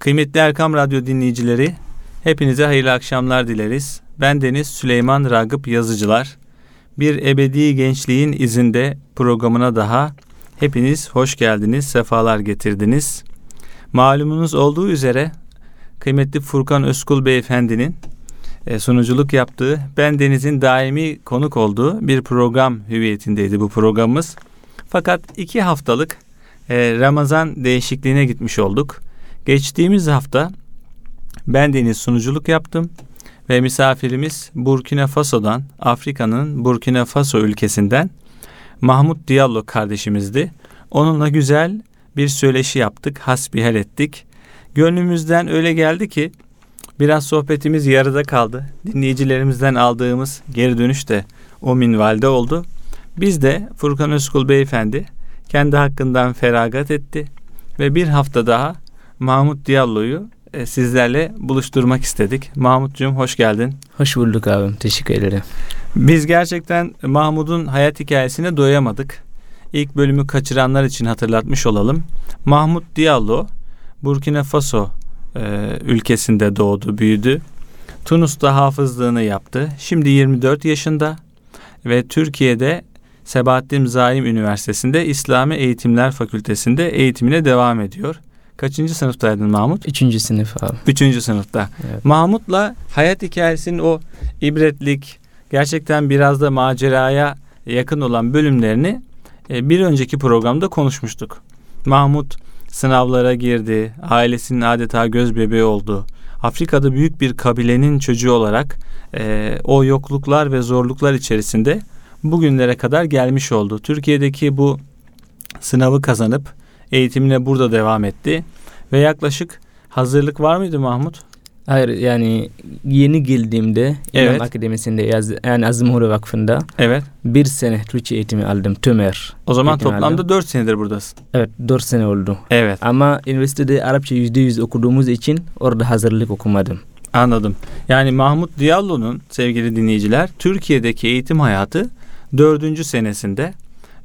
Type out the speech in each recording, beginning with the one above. Kıymetli Erkam Radyo dinleyicileri, hepinize hayırlı akşamlar dileriz. Ben Deniz Süleyman Ragıp Yazıcılar. Bir Ebedi Gençliğin izinde programına daha hepiniz hoş geldiniz, sefalar getirdiniz. Malumunuz olduğu üzere kıymetli Furkan Özkul Beyefendinin e, sunuculuk yaptığı, ben Deniz'in daimi konuk olduğu bir program hüviyetindeydi bu programımız. Fakat iki haftalık e, Ramazan değişikliğine gitmiş olduk. Geçtiğimiz hafta ben Deniz sunuculuk yaptım ve misafirimiz Burkina Faso'dan, Afrika'nın Burkina Faso ülkesinden Mahmut Diallo kardeşimizdi. Onunla güzel bir söyleşi yaptık, hasbihal ettik. Gönlümüzden öyle geldi ki biraz sohbetimiz yarıda kaldı. Dinleyicilerimizden aldığımız geri dönüş de o minvalde oldu. Biz de Furkan Özkul beyefendi kendi hakkından feragat etti ve bir hafta daha Mahmut Diallo'yu e, sizlerle buluşturmak istedik. Mahmutcuğum hoş geldin. Hoş bulduk abim. Teşekkür ederim. Biz gerçekten Mahmut'un hayat hikayesine doyamadık. İlk bölümü kaçıranlar için hatırlatmış olalım. Mahmut Diallo Burkina Faso e, ülkesinde doğdu, büyüdü. Tunus'ta hafızlığını yaptı. Şimdi 24 yaşında ve Türkiye'de Sebahattin Zaim Üniversitesi'nde İslami Eğitimler Fakültesi'nde eğitimine devam ediyor. Kaçıncı sınıftaydın Mahmut? Üçüncü sınıf abi. Üçüncü sınıfta. Evet. Mahmut'la hayat hikayesinin o ibretlik, gerçekten biraz da maceraya yakın olan bölümlerini e, bir önceki programda konuşmuştuk. Mahmut sınavlara girdi, ailesinin adeta göz bebeği oldu. Afrika'da büyük bir kabilenin çocuğu olarak e, o yokluklar ve zorluklar içerisinde bugünlere kadar gelmiş oldu. Türkiye'deki bu sınavı kazanıp eğitimine burada devam etti ve yaklaşık hazırlık var mıydı Mahmut? Hayır yani yeni geldiğimde Evet. İmam Akademisi'nde yaz, yani Azimhuru Vakfı'nda Evet. bir sene Türkçe eğitimi aldım. Tömer. O zaman Eğitim toplamda aldım. 4 senedir buradasın. Evet dört sene oldu. Evet. Ama üniversitede Arapça yüzde yüz okuduğumuz için orada hazırlık okumadım. Anladım. Yani Mahmut Diallo'nun sevgili dinleyiciler Türkiye'deki eğitim hayatı dördüncü senesinde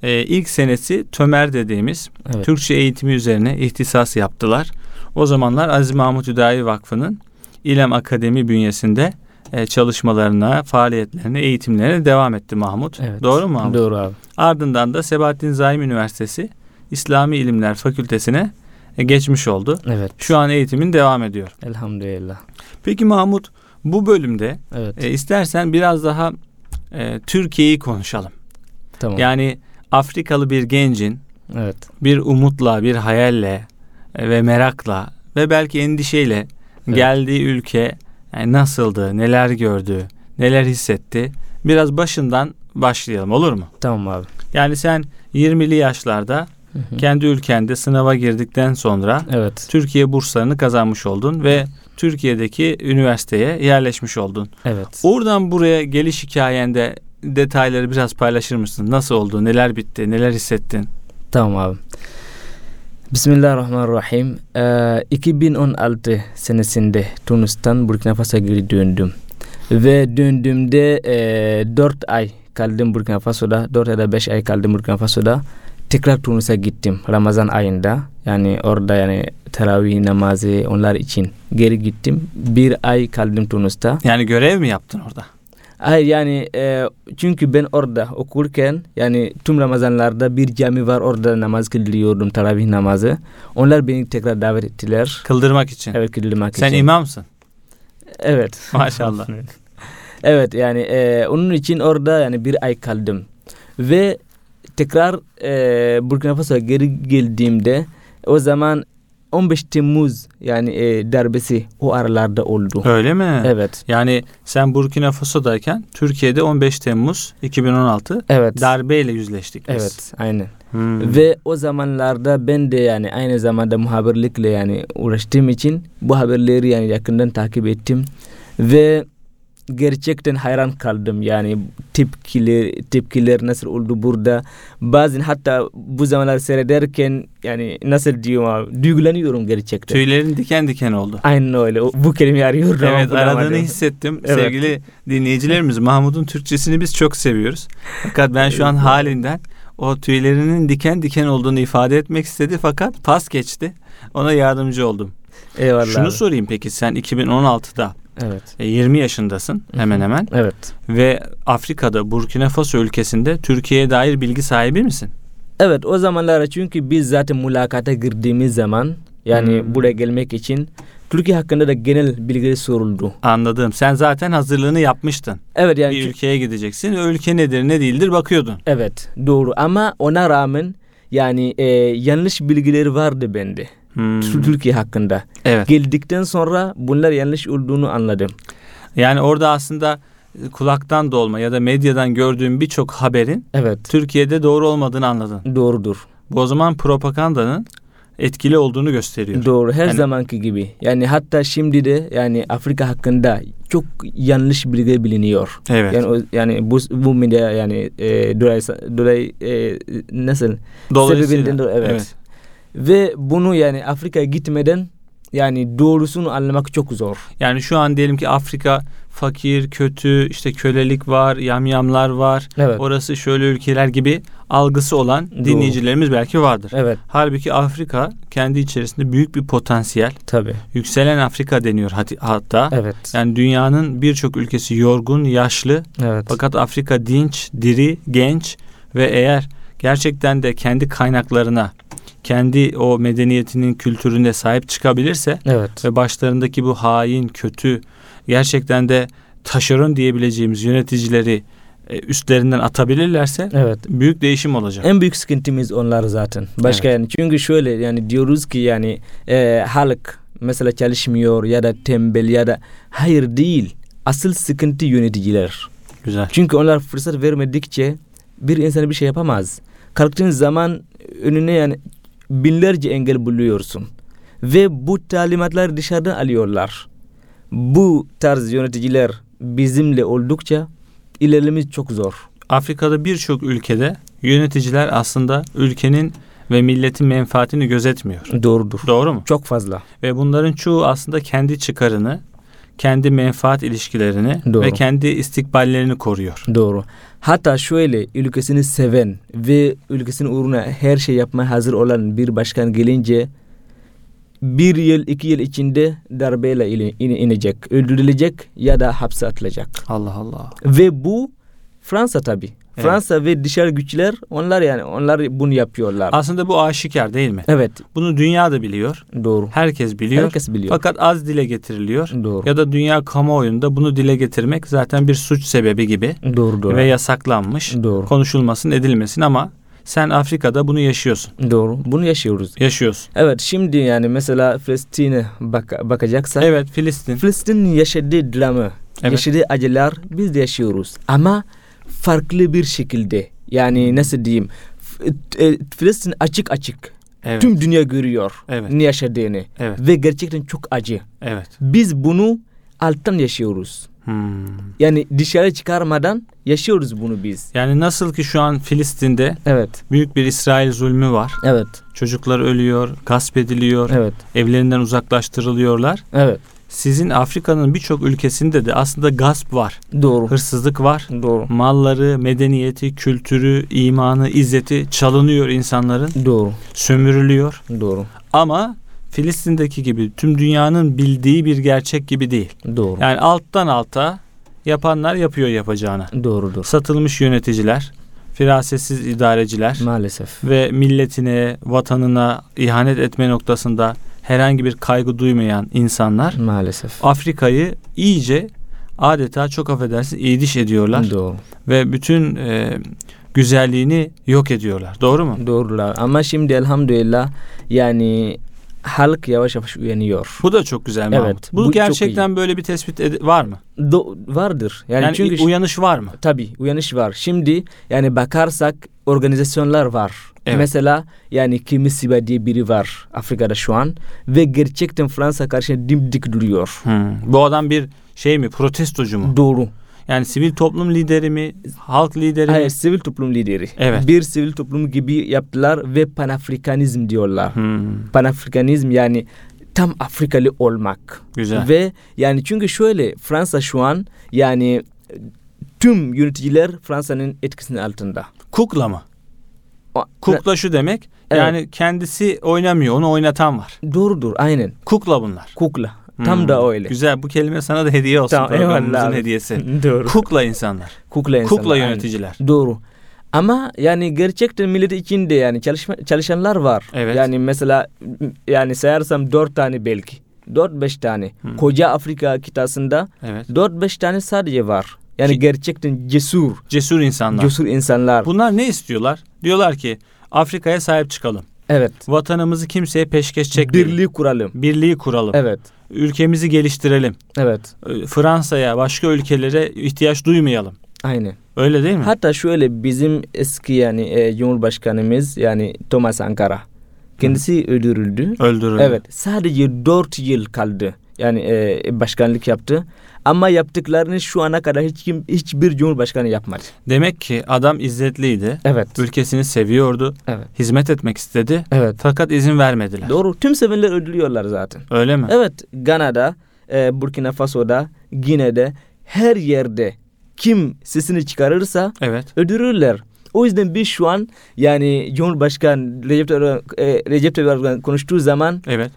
Ee, ilk senesi Tömer dediğimiz Evet. Türkçe eğitimi üzerine ihtisas yaptılar. O zamanlar Aziz Mahmut Hüdayi Vakfı'nın İlem Akademi bünyesinde e, çalışmalarına, faaliyetlerine, eğitimlerine devam etti Mahmut. Evet. Doğru mu Mahmut? Doğru abi. Ardından da Sebahattin Zaim Üniversitesi İslami İlimler Fakültesine e, geçmiş oldu. Evet. Şu an eğitimin devam ediyor. Elhamdülillah. Peki Mahmut bu bölümde Evet. e, istersen biraz daha e, Türkiye'yi konuşalım. tamam. Yani Afrikalı bir gencin evet. bir umutla, bir hayalle e, ve merakla ve belki endişeyle Evet. geldiği ülke yani nasıldı, neler gördü, neler hissetti. Biraz başından başlayalım olur mu? Tamam abi. Yani sen 20'li yaşlarda Hı hı. kendi ülkende sınava girdikten sonra Evet. Türkiye burslarını kazanmış oldun ve Türkiye'deki üniversiteye yerleşmiş oldun. Evet. Oradan buraya geliş hikayende detayları biraz paylaşır mısın? Nasıl oldu? Neler bitti? Neler hissettin? Tamam abi. Bismillahirrahmanirrahim. Ee, 2016 senesinde Tunus'tan Burkina Faso'ya geri döndüm. Ve döndüğümde e, 4 ay kaldım Burkina Faso'da. 4 ya da 5 ay kaldım Burkina Faso'da. Tekrar Tunus'a gittim Ramazan ayında. Yani orada yani teravih namazı onlar için geri gittim. Bir ay kaldım Tunus'ta. Yani görev mi yaptın orada? Hayır yani e, çünkü ben orada okurken yani tüm Ramazanlarda bir cami var orada namaz kılıyordum teravih namazı. Onlar beni tekrar davet ettiler. Kıldırmak için. Evet kılmak Sen için. imamsın. Evet. Maşallah. Evet yani e, onun için orada yani bir ay kaldım. Ve tekrar e, Burkina Faso'ya geri geldiğimde o zaman 15 Temmuz yani e, darbesi o aralarda oldu. Öyle mi? Evet. Yani sen Burkina Faso'dayken Türkiye'de 15 Temmuz 2016 Evet. darbeyle yüzleştik biz. evet. Aynen. Hmm. Ve o zamanlarda ben de yani aynı zamanda muhabirlikle yani uğraştığım için bu haberleri yani yakından takip ettim ve gerçekten hayran kaldım yani tepkiler tepkiler nasıl oldu burada bazen hatta bu zamanlar seyrederken yani nasıl diyorum abi, duygulanıyorum gerçekten. Tüylerin diken diken oldu. Aynen öyle O- bu kelimeyi arıyorum. ama Evet aradığını bulamadım. hissettim. Evet. Sevgili dinleyicilerimiz Mahmut'un Türkçesini biz çok seviyoruz. Fakat ben şu an halinden o tüylerinin diken diken olduğunu ifade etmek istedi fakat pas geçti. Ona yardımcı oldum. Eyvallah. Şunu abi. sorayım peki sen 2016'da Evet. e, 20 yaşındasın Hı hı. hemen hemen Evet. ve Afrika'da Burkina Faso ülkesinde Türkiye'ye dair bilgi sahibi misin? Evet o zamanlar çünkü biz zaten mülakata girdiğimiz zaman yani Hmm. buraya gelmek için Türkiye hakkında da genel bilgileri soruldu. Anladım. Sen zaten hazırlığını yapmıştın. Evet yani bir ülkeye gideceksin. O ülke nedir ne değildir bakıyordun. Evet doğru ama ona rağmen yani e, yanlış bilgileri vardı bende Hmm, Tür- Türkiye hakkında. Evet. Geldikten sonra bunlar yanlış olduğunu anladım. Yani orada aslında e, kulaktan dolma ya da medyadan gördüğün birçok haberin Evet Türkiye'de doğru olmadığını anladın. doğrudur. Bu o zaman propagandanın etkili olduğunu gösteriyor. Doğru her Yani- zamanki gibi. Yani hatta şimdi de yani Afrika hakkında çok yanlış bilgi biliniyor. evet. Yani o- yani bu bu medya yani e, dolayı dolayı e, nasıl Dolayısıyla. sebebinden dolayı- evet. ve bunu yani Afrika'ya gitmeden yani doğrusunu anlamak çok zor. Yani şu an diyelim ki Afrika fakir, kötü, işte kölelik var, yamyamlar var. Evet. Orası şöyle ülkeler gibi algısı olan Doğru. dinleyicilerimiz belki vardır. Evet Halbuki Afrika kendi içerisinde büyük bir potansiyel. tabii. Yükselen Afrika deniyor hati- hatta. Evet. Yani dünyanın birçok ülkesi yorgun, yaşlı Evet. fakat Afrika dinç, diri, genç ve eğer gerçekten de kendi kaynaklarına, kendi o medeniyetinin kültürüne sahip çıkabilirse Evet. ve başlarındaki bu hain, kötü, gerçekten de taşeron diyebileceğimiz yöneticileri e, üstlerinden atabilirlerse Evet. büyük değişim olacak. En büyük sıkıntımız onlar zaten. Başka yani çünkü şöyle yani diyoruz ki yani e, halk mesela çalışmıyor ya da tembel ya da hayır değil. Asıl sıkıntı yöneticiler. Güzel. Çünkü onlar fırsat vermedikçe bir insan bir şey yapamaz. Kalktığın zaman önüne yani binlerce engel buluyorsun. Ve bu talimatlar dışarıdan alıyorlar. Bu tarz yöneticiler bizimle oldukça ilerlememiz çok zor. Afrika'da birçok ülkede yöneticiler aslında ülkenin ve milletin menfaatini gözetmiyor. Doğrudur. Doğru mu? Çok fazla. Ve bunların çoğu aslında kendi çıkarını, kendi menfaat ilişkilerini Doğru. ve kendi istikballerini koruyor. Doğru. Hatta şöyle ülkesini seven ve ülkesinin uğruna her şey yapmaya hazır olan bir başkan gelince bir yıl iki yıl içinde darbeyle ile- ine- inecek, öldürülecek ya da hapse atılacak. Allah Allah. Ve bu Fransa tabi. Evet. Fransa ve dışarı güçler onlar yani onlar bunu yapıyorlar. Aslında bu aşikar değil mi? evet Bunu dünya da biliyor. doğru. Herkes biliyor. Herkes biliyor. Fakat az dile getiriliyor. doğru. Ya da dünya kamuoyunda bunu dile getirmek zaten bir suç sebebi gibi Doğru doğru. ve yasaklanmış. doğru. Konuşulmasın, edilmesin ama sen Afrika'da bunu yaşıyorsun. Doğru. Bunu yaşıyoruz. Yaşıyorsun. Evet şimdi yani mesela Filistin'e bak- bakacaksak Evet, Filistin. Filistin'in yaşadığı dramı, Evet. yaşadığı acılar biz de yaşıyoruz. Ama farklı bir şekilde. Yani nasıl diyeyim? F- e, Filistin açık açık. Evet. Tüm dünya görüyor Evet. ne yaşadığını. Evet. Ve gerçekten çok acı. Evet. Biz bunu alttan yaşıyoruz. Hmm. Yani dışarı çıkarmadan yaşıyoruz bunu biz. Yani nasıl ki şu an Filistin'de Evet. büyük bir İsrail zulmü var. Evet. Çocuklar ölüyor, gasp ediliyor, Evet. evlerinden uzaklaştırılıyorlar. Evet. Sizin Afrika'nın birçok ülkesinde de aslında gasp var, Doğru. hırsızlık var. Doğru. Malları, medeniyeti, kültürü, imanı, izzeti çalınıyor insanların, Doğru. sömürülüyor. Doğru. Ama Filistin'deki gibi tüm dünyanın bildiği bir gerçek gibi değil. Doğru. Yani alttan alta yapanlar yapıyor yapacağını. Doğrudur. Satılmış yöneticiler, firasetsiz idareciler, Maalesef. ve milletine, vatanına ihanet etme noktasında herhangi bir kaygı duymayan insanlar Maalesef. Afrika'yı iyice adeta çok affedersin iyiliş ediyorlar Doğru. ve bütün e, güzelliğini yok ediyorlar. Doğru mu? Doğrular. Ama şimdi elhamdülillah yani halk yavaş yavaş uyanıyor. Bu da çok güzel Mahmut. Evet, bu, bu çok gerçekten böyle bir tespit ed- var mı? Do- vardır. Yani, Yani, çünkü uyanış var mı? tabi uyanış var. Şimdi yani bakarsak organizasyonlar var. Evet. Mesela yani Kimi Siba diye biri var Afrika'da şu an ve gerçekten Fransa karşısında dimdik duruyor. Hmm. Bu adam bir şey mi? Protestocu mu? Doğru. Yani sivil toplum lideri mi? Halk lideri mi? Hayır, sivil toplum lideri. Evet. Bir sivil toplum gibi yaptılar ve panafrikanizm diyorlar. Hmm, Panafrikanizm yani tam Afrikalı olmak. Güzel. Ve yani çünkü şöyle Fransa şu an yani tüm yöneticiler Fransa'nın etkisinin altında. Kukla mı? O- Kukla şu demek Evet. Yani kendisi oynamıyor. Onu oynatan var. Doğrudur aynen. Kukla bunlar. Kukla. Tam Hmm, da öyle. Güzel. Bu kelime sana da hediye olsun. Tamam, programımızın eyvallah abi. hediyesi. Doğru. Kukla insanlar. Kukla insanlar. Kukla aynen. yöneticiler. Doğru. Ama yani gerçekten millet içinde yani çalışma, çalışanlar var. Evet. Yani mesela m- yani sayarsam dört tane belki. Dört beş tane. Hı. Koca Afrika kıtasında Evet. dört beş tane sadece var. Yani Ki- gerçekten cesur, Cesur insanlar. cesur insanlar. Bunlar ne istiyorlar? Diyorlar ki Afrika'ya sahip çıkalım. evet. Vatanımızı kimseye peşkeş çekmeyelim. Birliği kuralım. Birliği kuralım. Evet. Ülkemizi geliştirelim. Evet. Ee, Fransa'ya, başka ülkelere ihtiyaç duymayalım. Aynen. Öyle değil mi? Hatta şöyle bizim eski yani e, Cumhurbaşkanımız yani Thomas Ankara kendisi öldürüldü. Öldürün. Evet sadece 4 yıl kaldı. Yani e, başkanlık yaptı. Ama yaptıklarını şu ana kadar hiç kim hiçbir cumhurbaşkanı yapmadı. Demek ki adam izzetliydi. Evet. Ülkesini seviyordu. Evet. Hizmet etmek istedi. Evet. Fakat izin vermediler. Doğru. Tüm sevenler öldürüyorlar zaten. Öyle mi? Evet. Gana'da, e, Burkina Faso'da, Gine'de her yerde kim sesini çıkarırsa Evet. öldürürler. O yüzden biz şu an yani Cumhurbaşkan Recep Tayyip Erdoğan- e, Recep Tayyip Erdoğan konuştuğu zaman Evet.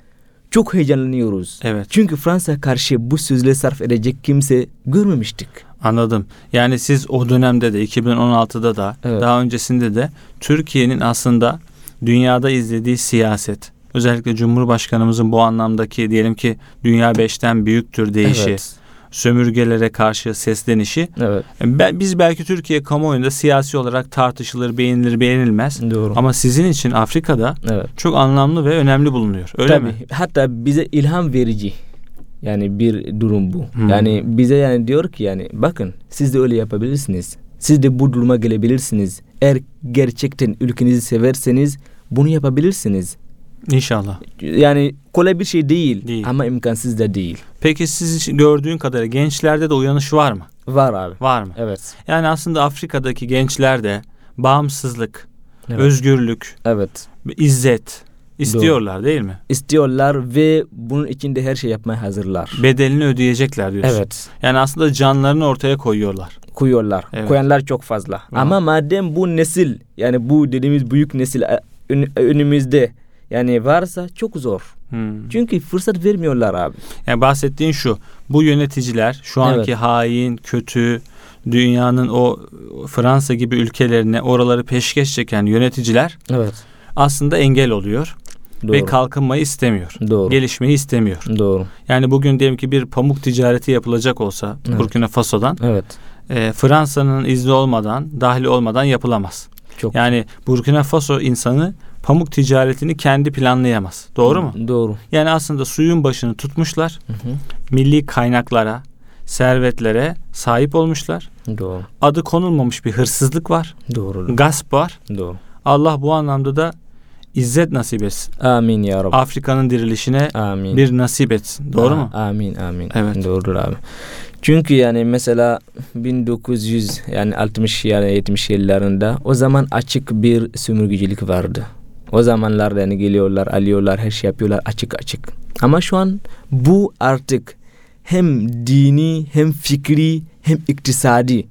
çok heyecanlanıyoruz. Evet. Çünkü Fransa karşı bu sözle sarf edecek kimse görmemiştik. Anladım. Yani siz o dönemde de 2016'da da Evet. daha öncesinde de Türkiye'nin aslında dünyada izlediği siyaset özellikle Cumhurbaşkanımızın bu anlamdaki diyelim ki dünya beşten büyüktür deyişi, Evet. sömürgelere karşı seslenişi e, Evet. Be- biz belki Türkiye kamuoyunda siyasi olarak tartışılır, beğenilir, beğenilmez Doğru. ama sizin için Afrika'da evet. çok anlamlı ve önemli bulunuyor. Öyle Tabii. mi? Hatta bize ilham verici. Yani bir durum bu. Hmm. Yani bize yani diyor ki yani bakın siz de öyle yapabilirsiniz. Siz de bu duruma gelebilirsiniz. Eğer gerçekten ülkenizi severseniz bunu yapabilirsiniz. İnşallah. Yani kolay bir şey değil, Değil. ama imkansız da değil. Peki siz için gördüğün kadarıyla gençlerde de uyanış var mı? Var abi. Var mı? Evet. Yani aslında Afrika'daki gençler de bağımsızlık, Evet. özgürlük, evet. izzet istiyorlar değil mi? İstiyorlar ve bunun için de her şey yapmaya hazırlar. Bedelini ödeyecekler diyorsun. Evet. Yani aslında canlarını ortaya koyuyorlar. Koyuyorlar. Evet. Koyanlar çok fazla. Ama madem bu nesil yani bu dediğimiz büyük nesil e, ön- önümüzde yani varsa çok zor. Hmm. Çünkü fırsat vermiyorlar abi. Yani bahsettiğin şu. Bu yöneticiler şu anki hain, kötü, dünyanın o Fransa gibi ülkelerine oraları peşkeş çeken yöneticiler Evet. aslında engel oluyor Doğru. ve kalkınmayı istemiyor. Doğru. Gelişmeyi istemiyor. Doğru. Yani bugün diyelim ki bir pamuk ticareti yapılacak olsa Evet. Burkina Faso'dan Evet. e, Fransa'nın izni olmadan, dahli olmadan yapılamaz. Çok. Yani Burkina Faso insanı pamuk ticaretini kendi planlayamaz. Doğru mu? Doğru. Yani aslında suyun başını tutmuşlar. Hı-hı. Milli kaynaklara, servetlere sahip olmuşlar. Doğru. Adı konulmamış bir hırsızlık var. Doğru. Gasp var. Doğru. Allah bu anlamda da izzet nasip etsin. Amin ya Rabbi. Afrika'nın dirilişine Amin. bir nasip etsin. Doğru A- mu? Amin amin. Evet. Doğrudur abi. Çünkü yani mesela 1900 yani 60 yani 70 yıllarında o zaman açık bir sömürgecilik vardı. O zamanlarda yani geliyorlar, alıyorlar, her şey yapıyorlar açık açık. Ama şu an bu artık hem dini hem fikri hem iktisadi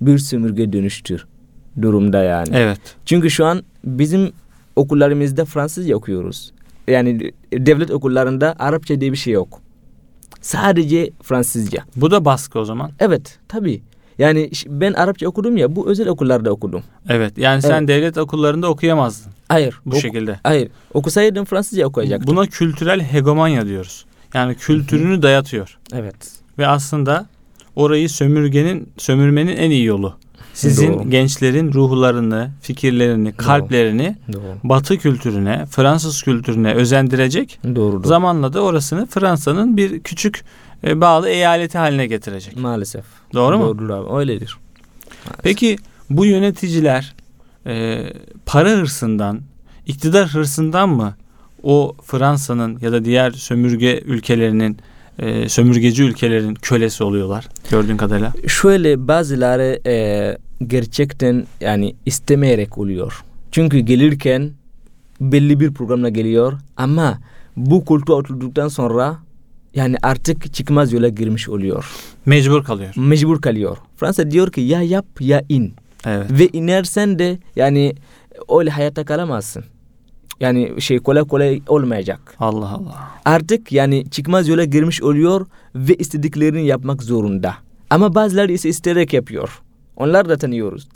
bir sömürge dönüştür durumda yani. Evet. Çünkü şu an bizim okullarımızda Fransızca okuyoruz. Yani devlet okullarında Arapça diye bir şey yok. Sadece Fransızca. Bu da baskı o zaman. Evet tabii. Yani ş- ben Arapça okudum ya bu özel okullarda okudum. Evet. Yani sen Evet. devlet okullarında okuyamazdın Hayır. bu oku- şekilde. Hayır. Okusaydım Fransızca okuyacaktım. Buna kültürel hegemonya diyoruz. Yani kültürünü dayatıyor. Evet. Ve aslında orayı sömürgenin sömürmenin en iyi yolu. Sizin Doğru. gençlerin ruhlarını, fikirlerini, kalplerini Doğru. Batı kültürüne, Fransız kültürüne özendirecek. Doğru. Zamanla da orasını Fransa'nın bir küçük e, bağlı eyaleti haline getirecek. Maalesef. Doğru mu? Doğrudur abi. Öyledir. Maalesef. Peki bu yöneticiler e, para hırsından, iktidar hırsından mı o Fransa'nın ya da diğer sömürge ülkelerinin e, sömürgeci ülkelerin kölesi oluyorlar gördüğün kadarıyla? Şöyle bazıları e, gerçekten yani istemeyerek oluyor. Çünkü gelirken belli bir programla geliyor ama bu koltuğa oturduktan sonra yani artık çıkmaz yola girmiş oluyor. Mecbur kalıyor. Mecbur kalıyor. Fransa diyor ki ya yap ya in. Evet. Ve inersen de yani öyle hayata kalamazsın. Yani şey kolay kolay olmayacak. Allah Allah. Artık yani çıkmaz yola girmiş oluyor ve istediklerini yapmak zorunda. Ama bazıları ise isteyerek yapıyor. Onlar da tanıyoruz.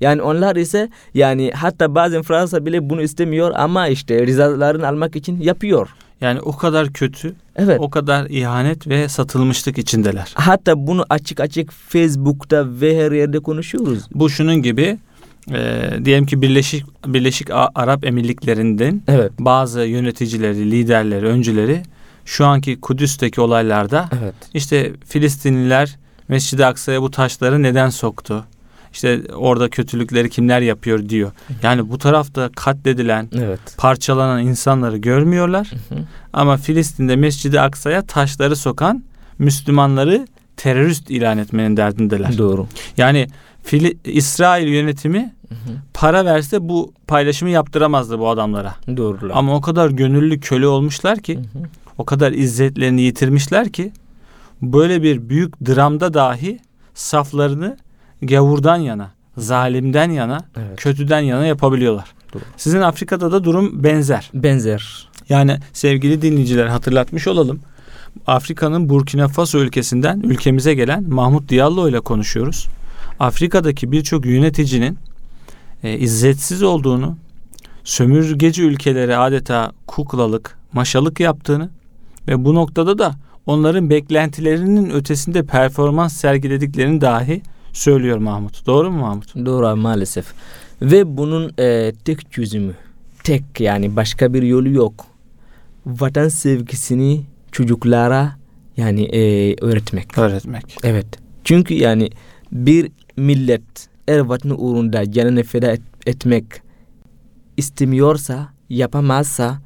Yani onlar ise yani hatta bazen Fransa bile bunu istemiyor ama işte rızalarını almak için yapıyor. Yani o kadar kötü, Evet. o kadar ihanet ve satılmışlık içindeler. Hatta bunu açık açık Facebook'ta ve her yerde konuşuyoruz. Bu şunun gibi e, diyelim ki Birleşik Birleşik A- Arap Emirlikleri'nden Evet. bazı yöneticileri, liderleri, öncüleri şu anki Kudüs'teki olaylarda Evet. İşte Filistinliler Mescid-i Aksa'ya bu taşları neden soktu? İşte orada kötülükleri kimler yapıyor diyor. Yani bu tarafta katledilen, Evet. parçalanan insanları görmüyorlar. Ama Filistin'de Mescid-i Aksa'ya taşları sokan Müslümanları terörist ilan etmenin derdindeler. Doğru. Yani Fili- İsrail yönetimi para verse bu paylaşımı yaptıramazdı bu adamlara. Doğru. Ama o kadar gönüllü köle olmuşlar ki o kadar izzetlerini yitirmişler ki böyle bir büyük dramda dahi saflarını gavurdan yana, zalimden yana, Evet. kötüden yana yapabiliyorlar. Doğru. Sizin Afrika'da da durum benzer. Benzer. Yani sevgili dinleyiciler hatırlatmış olalım. Afrika'nın Burkina Faso ülkesinden ülkemize gelen Mahmut Diallo ile konuşuyoruz. Afrika'daki birçok yöneticinin e, izzetsiz olduğunu, sömürgeci ülkelere adeta kuklalık, maşalık yaptığını ve bu noktada da onların beklentilerinin ötesinde performans sergilediklerini dahi söylüyor Mahmut. Doğru mu Mahmut? Doğru abi, maalesef. Ve bunun e, tek çözümü, tek yani başka bir yolu yok. Vatan sevgisini çocuklara yani e, öğretmek. Öğretmek. Evet. Çünkü yani bir millet eğer vatanı uğrunda canını feda et- etmek istemiyorsa, yapamazsa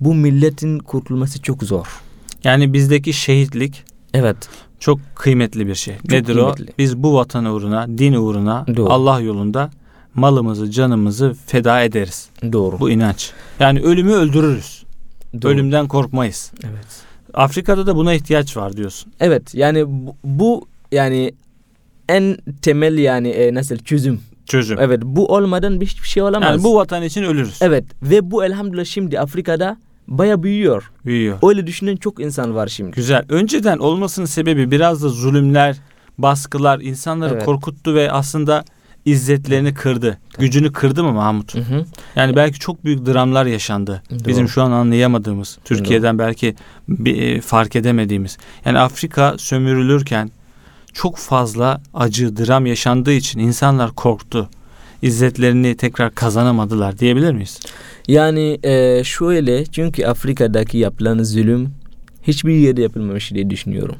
bu milletin kurtulması çok zor. Yani bizdeki şehitlik, Evet. Çok kıymetli bir şey. Nedir kıymetli. o? Biz bu vatan uğruna, din uğruna, Doğru. Allah yolunda malımızı, canımızı feda ederiz. Doğru. Bu inanç. Yani ölümü öldürürüz. Doğru. Ölümden korkmayız. Evet. Afrika'da da buna ihtiyaç var diyorsun. Evet. Yani bu, bu yani en temel yani e, nasıl çözüm. Çözüm. Evet. Bu olmadan bir- hiçbir şey olamaz. yani bu vatan için ölürüz. Evet. Ve bu elhamdülillah şimdi Afrika'da baya büyüyor. Büyüyor. Öyle düşünen çok insan var şimdi. Güzel. Önceden olmasının sebebi biraz da zulümler, baskılar insanları Evet. korkuttu ve aslında izzetlerini kırdı. Tabii. Gücünü kırdı mı Mahmut? Hı hı. Yani belki çok büyük dramlar yaşandı. Doğru. Bizim şu an anlayamadığımız, Türkiye'den belki bir, e, fark edemediğimiz. Yani Afrika sömürülürken çok fazla acı, dram yaşandığı için insanlar korktu. İzzetlerini tekrar kazanamadılar diyebilir miyiz? Yani eee, şöyle çünkü Afrika'daki yapılan zulüm hiçbir yerde yapılmamış diye düşünüyorum.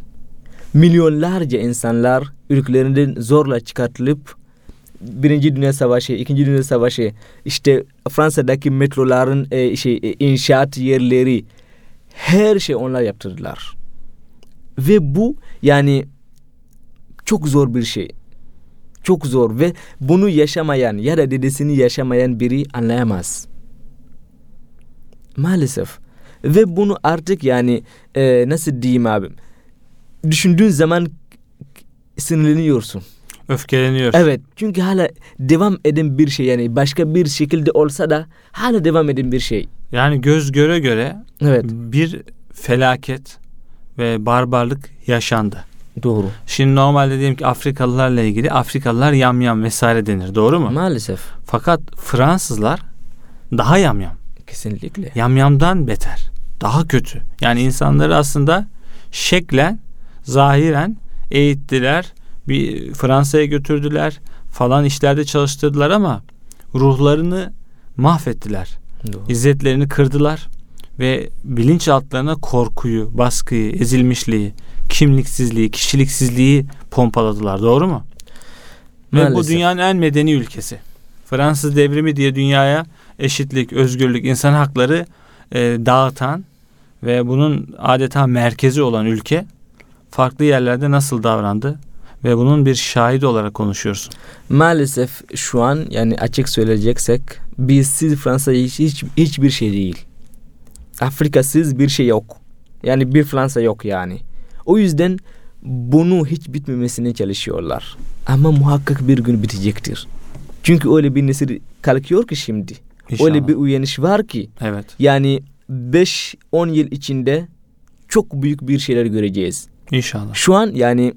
Milyonlarca insanlar ülkelerinden zorla çıkartılıp Birinci Dünya Savaşı, İkinci Dünya Savaşı, işte Fransa'daki metroların eee, şey e, inşaat yerleri her şey onlar yaptırdılar. Ve bu yani çok zor bir şey. Çok zor ve bunu yaşamayan ya da dedesini yaşamayan biri anlayamaz. Maalesef. Ve bunu artık yani e, nasıl diyeyim abim? Düşündüğün zaman sinirleniyorsun. Öfkeleniyor. Evet. Çünkü hala devam eden bir şey yani başka bir şekilde olsa da hala devam eden bir şey. Yani göz göre göre Evet. bir felaket ve barbarlık yaşandı. Doğru. Şimdi normalde diyelim ki Afrikalılarla ilgili Afrikalılar yamyam vesaire denir. Doğru mu? Maalesef. Fakat Fransızlar daha yamyam. Kesinlikle. yamyamdan beter. Daha kötü. Yani insanları aslında şeklen, zahiren eğittiler. Bir Fransa'ya götürdüler. Falan işlerde çalıştırdılar ama ruhlarını mahvettiler. Doğru. İzzetlerini kırdılar ve bilinçaltlarına korkuyu, baskıyı, ezilmişliği, kimliksizliği, kişiliksizliği pompaladılar. Doğru mu? Ve bu Maalesef. dünyanın en medeni ülkesi. Fransız devrimi diye dünyaya eşitlik, özgürlük, insan hakları e, dağıtan ve bunun adeta merkezi olan ülke farklı yerlerde nasıl davrandı ve bunun bir şahidi olarak konuşuyorsun. Maalesef şu an yani açık söyleyeceksek bizsiz Fransa hiç, hiç hiçbir şey değil. Afrikasız bir şey yok. Yani bir Fransa yok yani. O yüzden bunu hiç bitmemesini çalışıyorlar. Ama muhakkak bir gün bitecektir. Çünkü öyle bir nesil kalkıyor ki şimdi. İnşallah. Öyle bir uyanış var ki Evet. yani 5-10 yıl içinde çok büyük bir şeyler göreceğiz. İnşallah. Şu an yani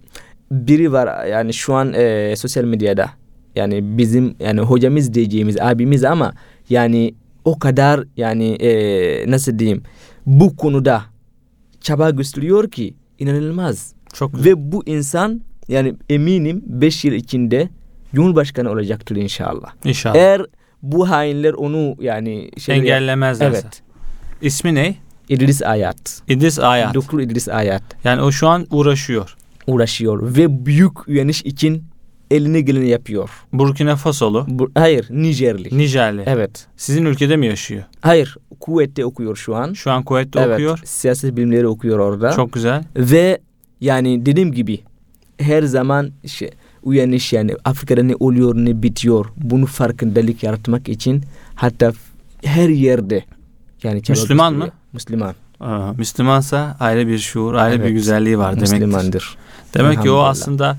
biri var yani şu an e, sosyal medyada yani bizim yani hocamız diyeceğimiz abimiz ama yani o kadar yani e, nasıl diyeyim bu konuda çaba gösteriyor ki inanılmaz. Çok güzel. Ve bu insan yani eminim 5 yıl içinde Cumhurbaşkanı olacaktır inşallah. İnşallah. Eğer bu hainler onu yani şey Engellemezlerse. Evet. İsmi ne? İdris Ayat. İdris Ayat. Doktor İdris Ayat. Yani o şu an uğraşıyor. uğraşıyor ve büyük uyanış için eline geleni yapıyor. Burkina Fasolu, Bu, hayır Nijerli. Nijerli. Evet. Sizin ülkede mi yaşıyor? Hayır Kuvvet'te okuyor şu an. Şu an Kuveyt'te evet. okuyor. Siyaset bilimleri okuyor orada. Çok güzel. Ve yani dediğim gibi her zaman şey, uyanış yani Afrika'da ne oluyor ne bitiyor bunu farkındalık yaratmak için hatta f- her yerde yani çaba Müslüman mı? gösteriyor. Müslüman. Ee, Müslümansa ayrı bir şuur, ayrı Evet. bir güzelliği var demektir. Müslümandır. Demek ki o Elhamdülillah. aslında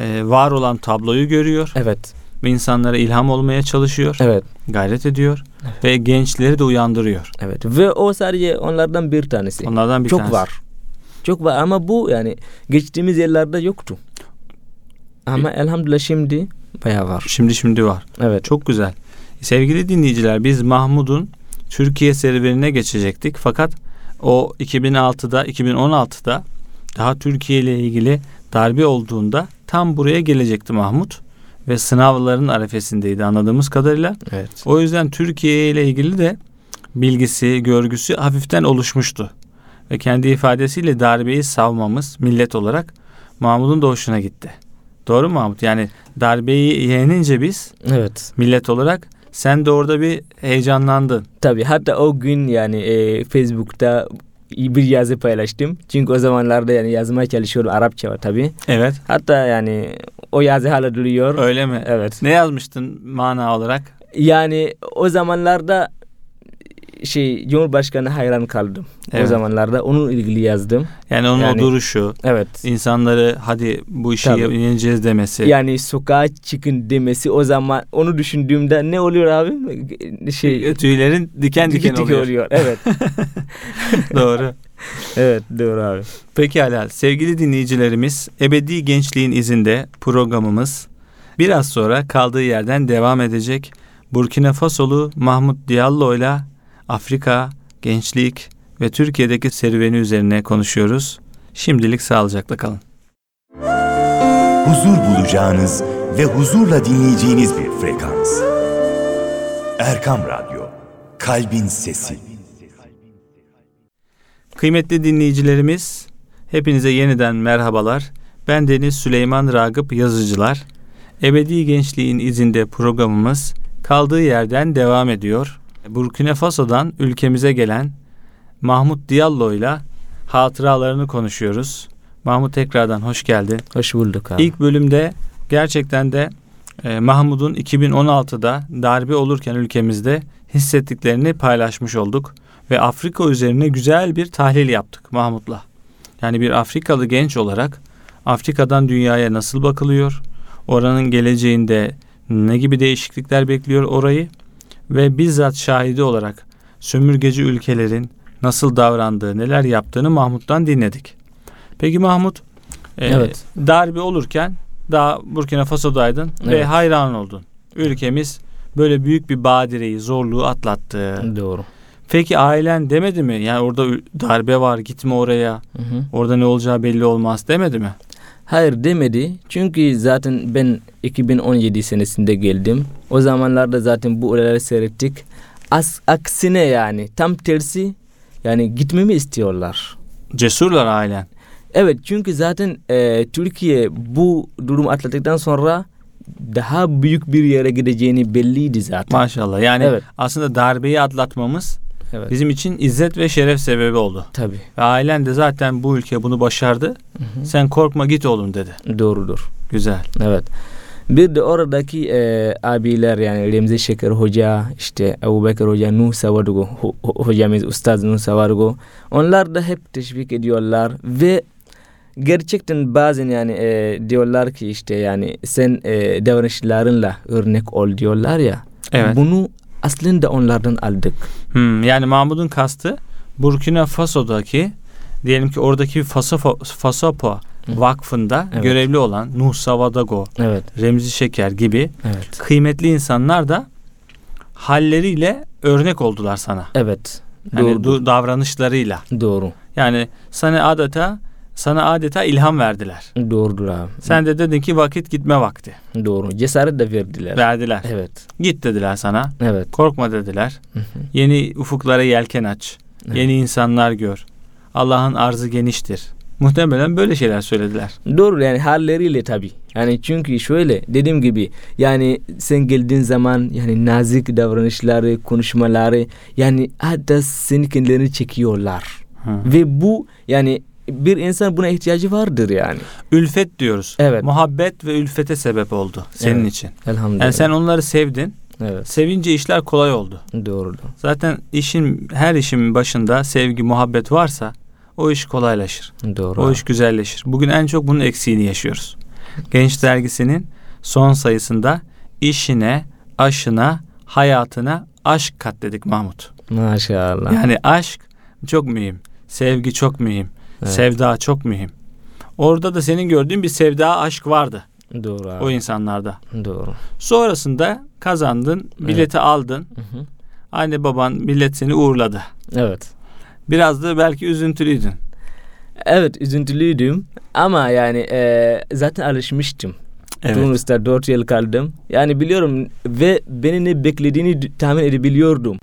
e, var olan tabloyu görüyor Evet. ve insanlara ilham olmaya çalışıyor, Evet. gayret ediyor ve gençleri de uyandırıyor. Evet. Ve o sadece onlardan bir tanesi. Onlardan bir çok tanesi. var. Çok var ama bu yani geçtiğimiz yerlerde yoktu. Ama elhamdülillah şimdi E- bayağı var. Şimdi şimdi var. Evet. Çok güzel. Sevgili dinleyiciler biz Mahmud'un Türkiye serüvenine geçecektik. Fakat o 2006'da 2016'da daha Türkiye ile ilgili darbe olduğunda tam buraya gelecekti Mahmud ve sınavların arefesindeydi anladığımız kadarıyla. Evet. O yüzden Türkiye ile ilgili de bilgisi, görgüsü hafiften oluşmuştu. Ve kendi ifadesiyle darbeyi savmamız millet olarak Mahmud'un da hoşuna gitti. Doğru mu Mahmud? Yani darbeyi yenince biz Evet. millet olarak. Sen de orada bir heyecanlandın. Tabii hatta o gün yani e, Facebook'ta bir yazı paylaştım. Çünkü o zamanlarda yani yazmaya çalışıyorum Arapça var tabii. Evet. Hatta yani o yazı hala duruyor. Öyle mi? Evet. Ne yazmıştın mana olarak? Yani o zamanlarda şey Cumhurbaşkanı hayran kaldım. O Evet. zamanlarda onun ilgili yazdım. Yani onun Yani- o duruşu, Evet. insanları hadi bu işi Tabii. yeneceğiz demesi. Yani sokağa çıkın demesi o zaman onu düşündüğümde ne oluyor abi? Şey Tüylerin diken diken oluyor. Evet. Doğru. evet doğru abi. Pekala sevgili dinleyicilerimiz Ebedi Gençliğin izinde programımız biraz sonra kaldığı yerden devam edecek. Burkina Fasolu Mahmut Diallo ile Afrika, gençlik ve Türkiye'deki serüveni üzerine konuşuyoruz. Şimdilik sağlıcakla kalın. huzur bulacağınız ve huzurla dinleyeceğiniz bir frekans. Erkam Radyo, Kalbin Sesi. Kıymetli dinleyicilerimiz, hepinize yeniden merhabalar. Ben Deniz Süleyman Ragıp Yazıcılar. Ebedi Gençliğin izinde programımız kaldığı yerden devam ediyor. Burkina Faso'dan ülkemize gelen Mahmut Diallo ile hatıralarını konuşuyoruz. Mahmut tekrardan hoş geldin. Hoş bulduk abi. İlk bölümde gerçekten de e, Mahmud'un 2016'da darbe olurken ülkemizde hissettiklerini paylaşmış olduk ve Afrika üzerine güzel bir tahlil yaptık Mahmut'la. Yani bir Afrikalı genç olarak Afrika'dan dünyaya nasıl bakılıyor? Oranın geleceğinde ne gibi değişiklikler bekliyor orayı? Ve bizzat şahidi olarak sömürgeci ülkelerin nasıl davrandığı, neler yaptığını Mahmut'tan dinledik. Peki Mahmut, e, Evet. darbe olurken daha Burkina Faso'daydın ve Evet. hayran oldun. Ülkemiz böyle büyük bir badireyi, zorluğu atlattı. Doğru. Peki ailen demedi mi? Yani orada ül- darbe var, gitme oraya. Hı-hı. Orada ne olacağı belli olmaz demedi mi? Hayır demedi. Çünkü zaten ben 2017 senesinde geldim. O zamanlarda zaten bu olayları seyrettik. As, aksine yani tam tersi yani gitmemi istiyorlar. Cesurlar ailen. Evet çünkü zaten e, Türkiye bu durum atlattıktan sonra daha büyük bir yere gideceğini belliydi zaten. Maşallah. Yani Evet. aslında darbeyi atlatmamız Evet. bizim için izzet ve şeref sebebi oldu. Tabii. Ve ailen de zaten bu ülke bunu başardı. Sen korkma git oğlum dedi. Doğrudur. Güzel. Evet. Bir de oradaki e, abiler yani Remzi Şeker Hoca, işte Ebu Bekir Hoca, Nuh Savargo, ho- ho- hocamız Ustaz Nuh Savargo. Onlar da hep teşvik ediyorlar ve gerçekten bazen yani e, diyorlar ki işte yani sen e, davranışlarınla örnek ol diyorlar ya. Evet. Bunu aslında onlardan aldık. Hmm, yani Mahmud'un kastı Burkina Faso'daki diyelim ki oradaki bir Fasopo, Fasopo Hı. Vakfı'nda Evet. görevli olan Nuh Savadago, Evet, Remzi Şeker gibi evet. kıymetli insanlar da halleriyle örnek oldular sana. Evet. Yani Doğru. du- davranışlarıyla. doğru. Yani sana adeta sana adeta ilham verdiler. Doğrudur abi. Sen de dedin ki vakit gitme vakti. Doğru. Cesaret de verdiler. Verdiler. Evet. Git dediler sana. Evet. Korkma dediler. Hı hı. Yeni ufuklara yelken aç. Evet. Yeni insanlar gör. Allah'ın arzı geniştir. Muhtemelen böyle şeyler söylediler. Doğru yani halleriyle tabii. Yani çünkü şöyle dediğim gibi yani sen geldiğin zaman yani nazik davranışları, konuşmaları yani hatta seni kendilerini çekiyorlar. Hı. Ve bu yani bir insan buna ihtiyacı vardır yani. Ülfet diyoruz. Evet. Muhabbet ve ülfete sebep oldu senin Evet. için. Elhamdülillah. Yani sen onları sevdin. Evet. Sevince işler kolay oldu. Doğru. Zaten işin her işin başında sevgi, muhabbet varsa o iş kolaylaşır. Doğru. O iş güzelleşir. Bugün en çok bunun eksiğini yaşıyoruz. Genç dergisinin son sayısında işine, aşına, hayatına aşk kat dedik Mahmut. Maşallah. Yani aşk çok mühim. Sevgi çok mühim. Evet. Sevda çok mühim. Orada da senin gördüğün bir sevda aşk vardı Doğru abi. o insanlarda. Doğru. Sonrasında kazandın, bileti aldın. Hı-hı. Anne baban millet seni uğurladı. Evet. Biraz da belki üzüntülüydün. Evet üzüntülüydüm ama yani eee, zaten alışmıştım. Tunus'ta 4 yıl kaldım. Yani biliyorum ve beni ne beklediğini d- tahmin edebiliyordum.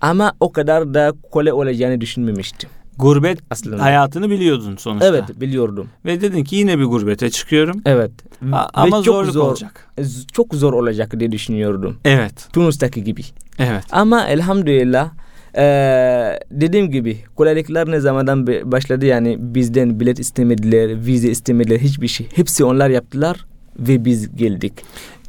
Ama o kadar da kolay olacağını düşünmemiştim. Gurbet Aslında. hayatını biliyordun sonuçta. Evet biliyordum. Ve dedin ki yine bir gurbete çıkıyorum. Evet. A- Ve ama çok zorluk zor, e, olacak. z- Çok zor olacak diye düşünüyordum. Evet. Tunus'taki gibi. Evet. Ama elhamdülillah eee, dediğim gibi kolaylıklar ne zamandan be- başladı yani bizden bilet istemediler, vize istemediler hiçbir şey. Hepsi onlar yaptılar ve biz geldik.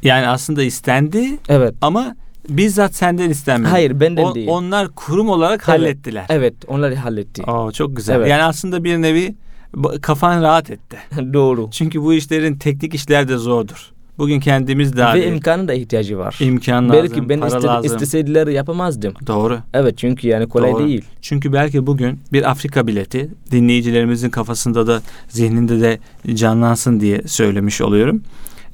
Yani aslında istendi Evet. ama bizzat senden istenmedi. Hayır benden O- değil. Onlar kurum olarak Evet. hallettiler. Evet onlar halletti. Oo, çok güzel. Evet. Yani aslında bir nevi ba- kafan rahat etti. Doğru. Çünkü bu işlerin teknik işler de zordur. Bugün kendimiz daha Ve Ve imkanı da ihtiyacı var. imkan lazım, Belki ben para iste- lazım. isteseydiler yapamazdım. Doğru. Evet çünkü yani kolay Doğru. değil. Çünkü belki bugün bir Afrika bileti dinleyicilerimizin kafasında da zihninde de canlansın diye söylemiş oluyorum.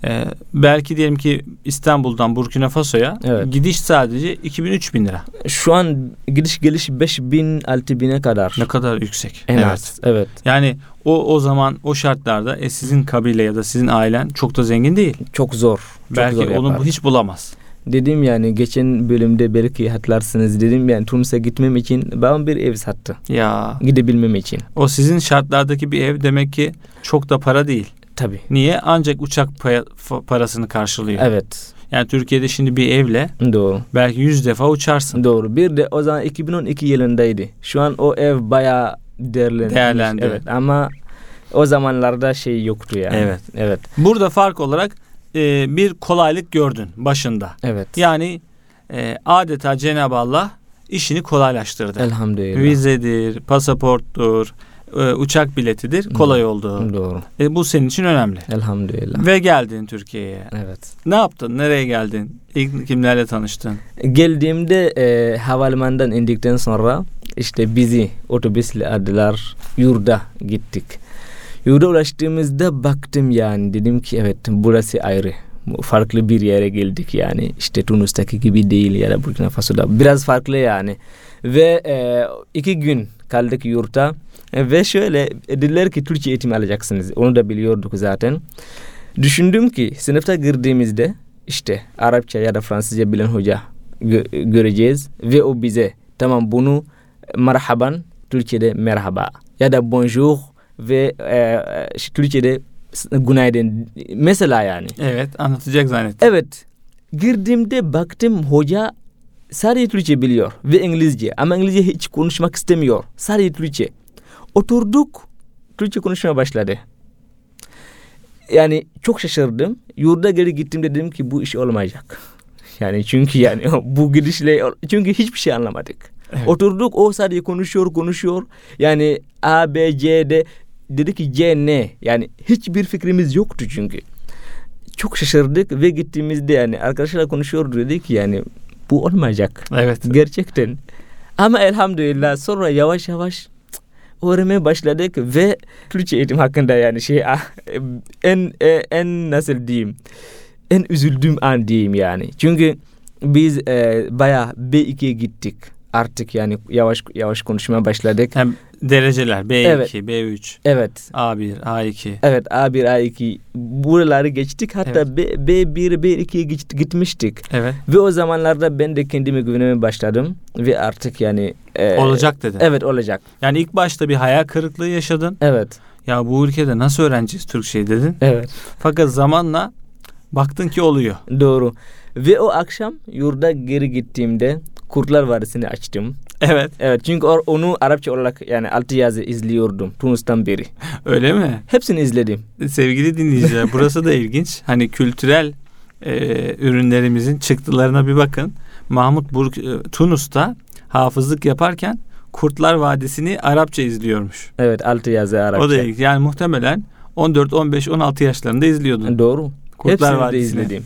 Ee, belki diyelim ki İstanbul'dan Burkina Faso'ya Evet. gidiş sadece 2000-3000 lira. Şu an gidiş geliş 5000 6000'e kadar. Ne kadar yüksek. En az. Evet. Yani o o zaman o şartlarda e, sizin kabile ya da sizin ailen çok da zengin değil. Çok zor. Çok belki zor onu yapar. hiç bulamaz. Dedim yani geçen bölümde belki hatırlarsınız dedim yani Tunus'a gitmem için babam bir ev sattı. Ya Gidebilmem için. o sizin şartlardaki bir ev demek ki çok da para değil. Tabii. Niye? Ancak uçak paya- fa- parasını karşılıyor. Evet. Yani Türkiye'de şimdi bir evle Doğru. belki yüz defa uçarsın. Doğru. Bir de o zaman 2012 yılındaydı. Şu an o ev bayağı değerlendi. Değerlendi. Evet ama o zamanlarda şey yoktu yani. Evet. Evet. Burada fark olarak e, bir kolaylık gördün başında. Evet. Yani e, adeta Cenab-ı Allah işini kolaylaştırdı. Elhamdülillah. Vizedir, pasaporttur, e, uçak biletidir kolay oldu. Doğru. E, bu senin için önemli. Elhamdülillah. Ve geldin Türkiye'ye. Evet. Ne yaptın? Nereye geldin? İlk kimlerle tanıştın? Geldiğimde e, havalimanından indikten sonra işte bizi otobüsle aldılar yurda gittik. Yurda ulaştığımızda baktım yani dedim ki evet burası ayrı. Bu Farklı bir yere geldik yani işte Tunus'taki gibi değil ya da Burkina Faso'da biraz farklı yani. Ve e, iki gün kaldık yurtta E, ve şöyle e, dediler ki Türkçe eğitimi alacaksınız onu da biliyorduk zaten. Düşündüm ki sınıfta girdiğimizde işte Arapça ya da Fransızca bilen hoca gö- göreceğiz ve o bize tamam bunu merhaban Türkçe'de merhaba ya da bonjour ve e, e, Türkçe'de s- günaydın mesela yani. Evet anlatacak zannettim. Evet girdiğimde baktım hoca sadece Türkçe biliyor ve İngilizce ama İngilizce hiç konuşmak istemiyor sadece Türkçe. Oturduk Türkçe konuşmaya başladı. Yani çok şaşırdım. Yurda geri gittiğimde dedim ki bu iş olmayacak. Yani çünkü yani bu gidişle çünkü hiçbir şey anlamadık. Evet. Oturduk o sadece konuşuyor konuşuyor. Yani A, B, C, D dedi ki C ne? Yani hiçbir fikrimiz yoktu çünkü. Çok şaşırdık ve gittiğimizde yani arkadaşlarla konuşuyordu dedi ki yani bu olmayacak. Evet. Gerçekten. Ama elhamdülillah sonra yavaş yavaş cık, öğrenmeye başladık ve Türkçe eğitim hakkında yani şey ah, en e, en nasıl diyeyim en üzüldüğüm an diyeyim yani. Çünkü biz e, bayağı B2'ye gittik artık yani yavaş yavaş konuşmaya başladık. Hem dereceler B2, Evet. B3, Evet. A1, A2. Evet A1 A2 buraları geçtik hatta Evet. B, B1 B2'ye git- gitmiştik. Evet. Ve o zamanlarda ben de kendime güvenmeye başladım ve artık yani e, Olacak dedi. Evet olacak. Yani ilk başta bir hayal kırıklığı yaşadın. Evet. Ya bu ülkede nasıl öğreneceğiz Türkçeyi dedin. Evet. Fakat zamanla baktın ki oluyor. Doğru. Ve o akşam yurda geri gittiğimde Kurtlar Vadisi'ni açtım. Evet. Evet çünkü or- onu Arapça olarak yani altı yazı izliyordum Tunus'tan beri. Öyle mi? Hepsini izledim. Sevgili dinleyiciler burası da ilginç. Hani kültürel e, ürünlerimizin çıktılarına bir bakın. Mahmut Burk e, Tunus'ta hafızlık yaparken Kurtlar Vadisi'ni Arapça izliyormuş. Evet altı yazı Arapça. O da ilginç. Yani muhtemelen 14, 15, 16 yaşlarında izliyordun. Doğru. Kurtlar Hepsini de Vadisi'ni. izledim.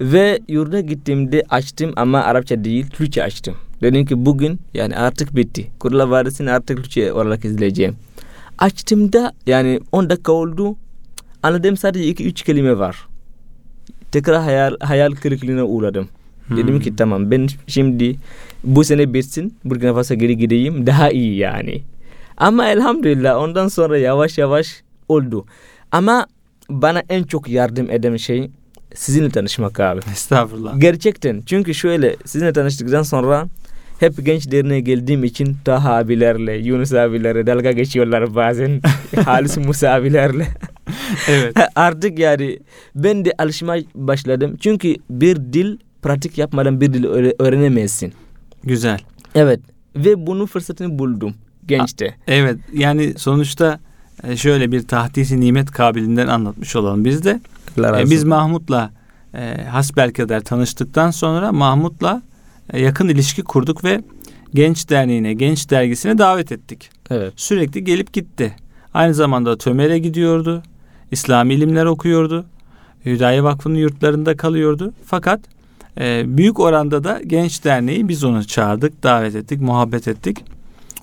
Ve yurda gittiğimde açtım ama Arapça değil Türkçe açtım. Dedim ki bugün yani artık bitti. Kurtlar Vadisi'ni artık Türkçe olarak izleyeceğim. Açtığımda yani 10 dakika oldu. Anladığım sadece 2-3 kelime var. Tekrar hayal, hayal kırıklığına uğradım. Dedim Hmm. ki tamam ben şimdi bu sene bitsin Burkina Faso geri gideyim daha iyi yani. Ama elhamdülillah ondan sonra yavaş yavaş oldu. Ama bana en çok yardım eden şey sizinle tanışmak abi. Estağfurullah. Gerçekten çünkü şöyle sizinle tanıştıktan sonra hep genç derneğe geldiğim için Taha abilerle, Yunus abilerle dalga geçiyorlar bazen. Halis Musa abilerle. evet. Artık yani ben de alışmaya başladım. Çünkü bir dil pratik yapmadan bir dil öğre- öğrenemezsin. Güzel. Evet. Ve bunun fırsatını buldum gençte. Evet yani sonuçta e, şöyle bir tahtisi nimet kabilinden anlatmış olalım biz de. E, biz Mahmut'la e, hasbelkader tanıştıktan sonra Mahmut'la e, yakın ilişki kurduk ve Genç Derneği'ne, Genç Dergisi'ne davet ettik. evet. Sürekli gelip gitti. Aynı zamanda Tömer'e gidiyordu. İslami ilimler okuyordu. Hüdayi Vakfı'nın yurtlarında kalıyordu. Fakat e, büyük oranda da Genç Derneği biz onu çağırdık, davet ettik, muhabbet ettik.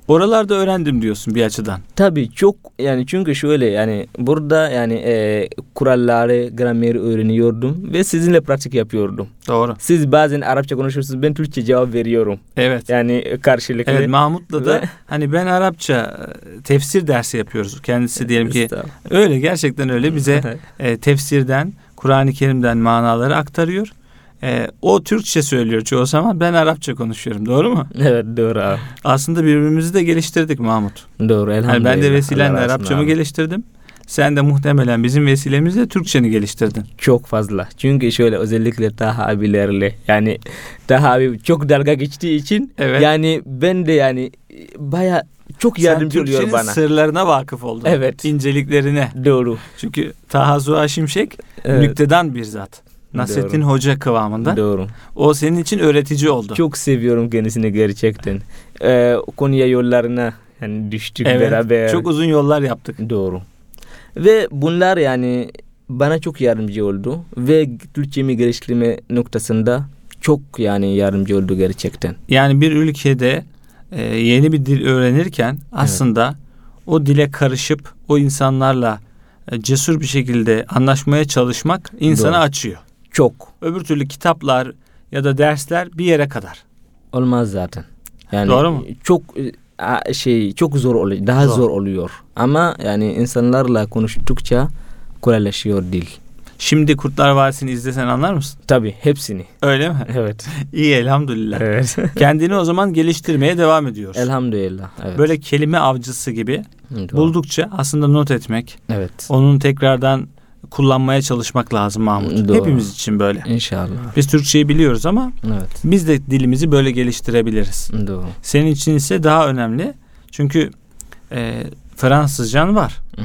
Oralarda öğrendim diyorsun bir açıdan. Tabii çok yani çünkü şöyle yani burada yani e, kuralları, grameri öğreniyordum ve sizinle pratik yapıyordum. Doğru. Siz bazen Arapça konuşuyorsunuz ben Türkçe cevap veriyorum. Evet. Yani e, karşılıklı. Evet Mahmut'la da Ve- hani ben Arapça e, tefsir dersi yapıyoruz. Kendisi diyelim ki Estağfurullah. öyle gerçekten öyle bize e, tefsirden, Kur'an-ı Kerim'den manaları aktarıyor. E, o Türkçe söylüyor çoğu zaman ben Arapça konuşuyorum doğru mu? evet doğru abi. Aslında birbirimizi de geliştirdik Mahmut. Doğru elhamdülillah. Yani ben de vesilenle Allah razı olsun Arapçamı abi. geliştirdim. Sen de muhtemelen bizim vesilemizle Türkçeni geliştirdin. Çok fazla. Çünkü şöyle özellikle Taha abilerle yani Taha abi çok dalga geçtiği için Evet. yani ben de yani e, baya çok yardımcı Sen oluyor Türkçenin bana. sırlarına vakıf oldun. Evet. İnceliklerine. Doğru. Çünkü Taha Zuha Şimşek Evet. nüktedan bir zat. Nasrettin Hoca kıvamında. Doğru. O senin için öğretici oldu. Çok seviyorum kendisini gerçekten. Ee, Konya yollarına yani düştük Evet, beraber. Çok uzun yollar yaptık. Doğru. Ve bunlar yani bana çok yardımcı oldu ve Türkçemi geliştirme noktasında çok yani yardımcı oldu gerçekten. Yani bir ülkede e, yeni bir dil öğrenirken aslında o dile karışıp o insanlarla e, cesur bir şekilde anlaşmaya çalışmak insanı Doğru. açıyor. Çok. Öbür türlü kitaplar ya da dersler bir yere kadar. Olmaz zaten. Yani Doğru mu? Çok e, a- şey çok zor oluyor. Daha Zor. zor, oluyor. Ama yani insanlarla konuştukça kolaylaşıyor dil. Şimdi Kurtlar Vadisi'ni izlesen anlar mısın? Tabii hepsini. Öyle mi? Evet. İyi elhamdülillah. Evet. Kendini o zaman geliştirmeye devam ediyorsun. Elhamdülillah. Evet. Böyle kelime avcısı gibi Doğru. buldukça aslında not etmek, Evet. onun tekrardan kullanmaya çalışmak lazım Mahmut. Doğru. Hepimiz için böyle. İnşallah. Biz Türkçeyi biliyoruz ama Evet. biz de dilimizi böyle geliştirebiliriz. Doğru. Senin için ise daha önemli. Çünkü e, Fransızcan var. Hı.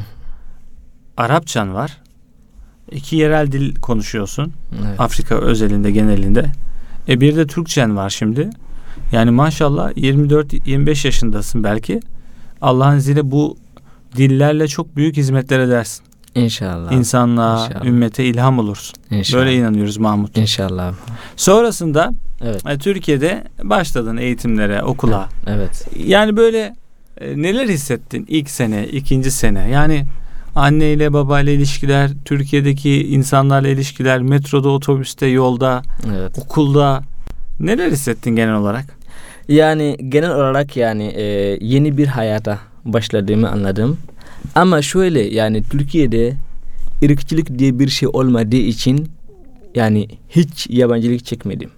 Arapçan var. İki yerel dil konuşuyorsun. Evet. Afrika özelinde, genelinde. E bir de Türkçen var şimdi. Yani maşallah 24-25 yaşındasın belki. Allah'ın izniyle bu dillerle çok büyük hizmetler edersin. İnşallah. İnsanlığa, İnşallah. ümmete ilham olursun. İnşallah. Böyle inanıyoruz Mahmut. İnşallah. Sonrasında Evet. Yani Türkiye'de başladın eğitimlere, okula. Evet. Yani böyle e, neler hissettin ilk sene, ikinci sene? Yani anneyle babayla ilişkiler, Türkiye'deki insanlarla ilişkiler, metroda, otobüste, yolda, Evet. okulda neler hissettin genel olarak? Yani genel olarak yani e, yeni bir hayata başladığımı anladım. Ama şöyle yani Türkiye'de ırkçılık diye bir şey olmadığı için yani hiç yabancılık çekmedim.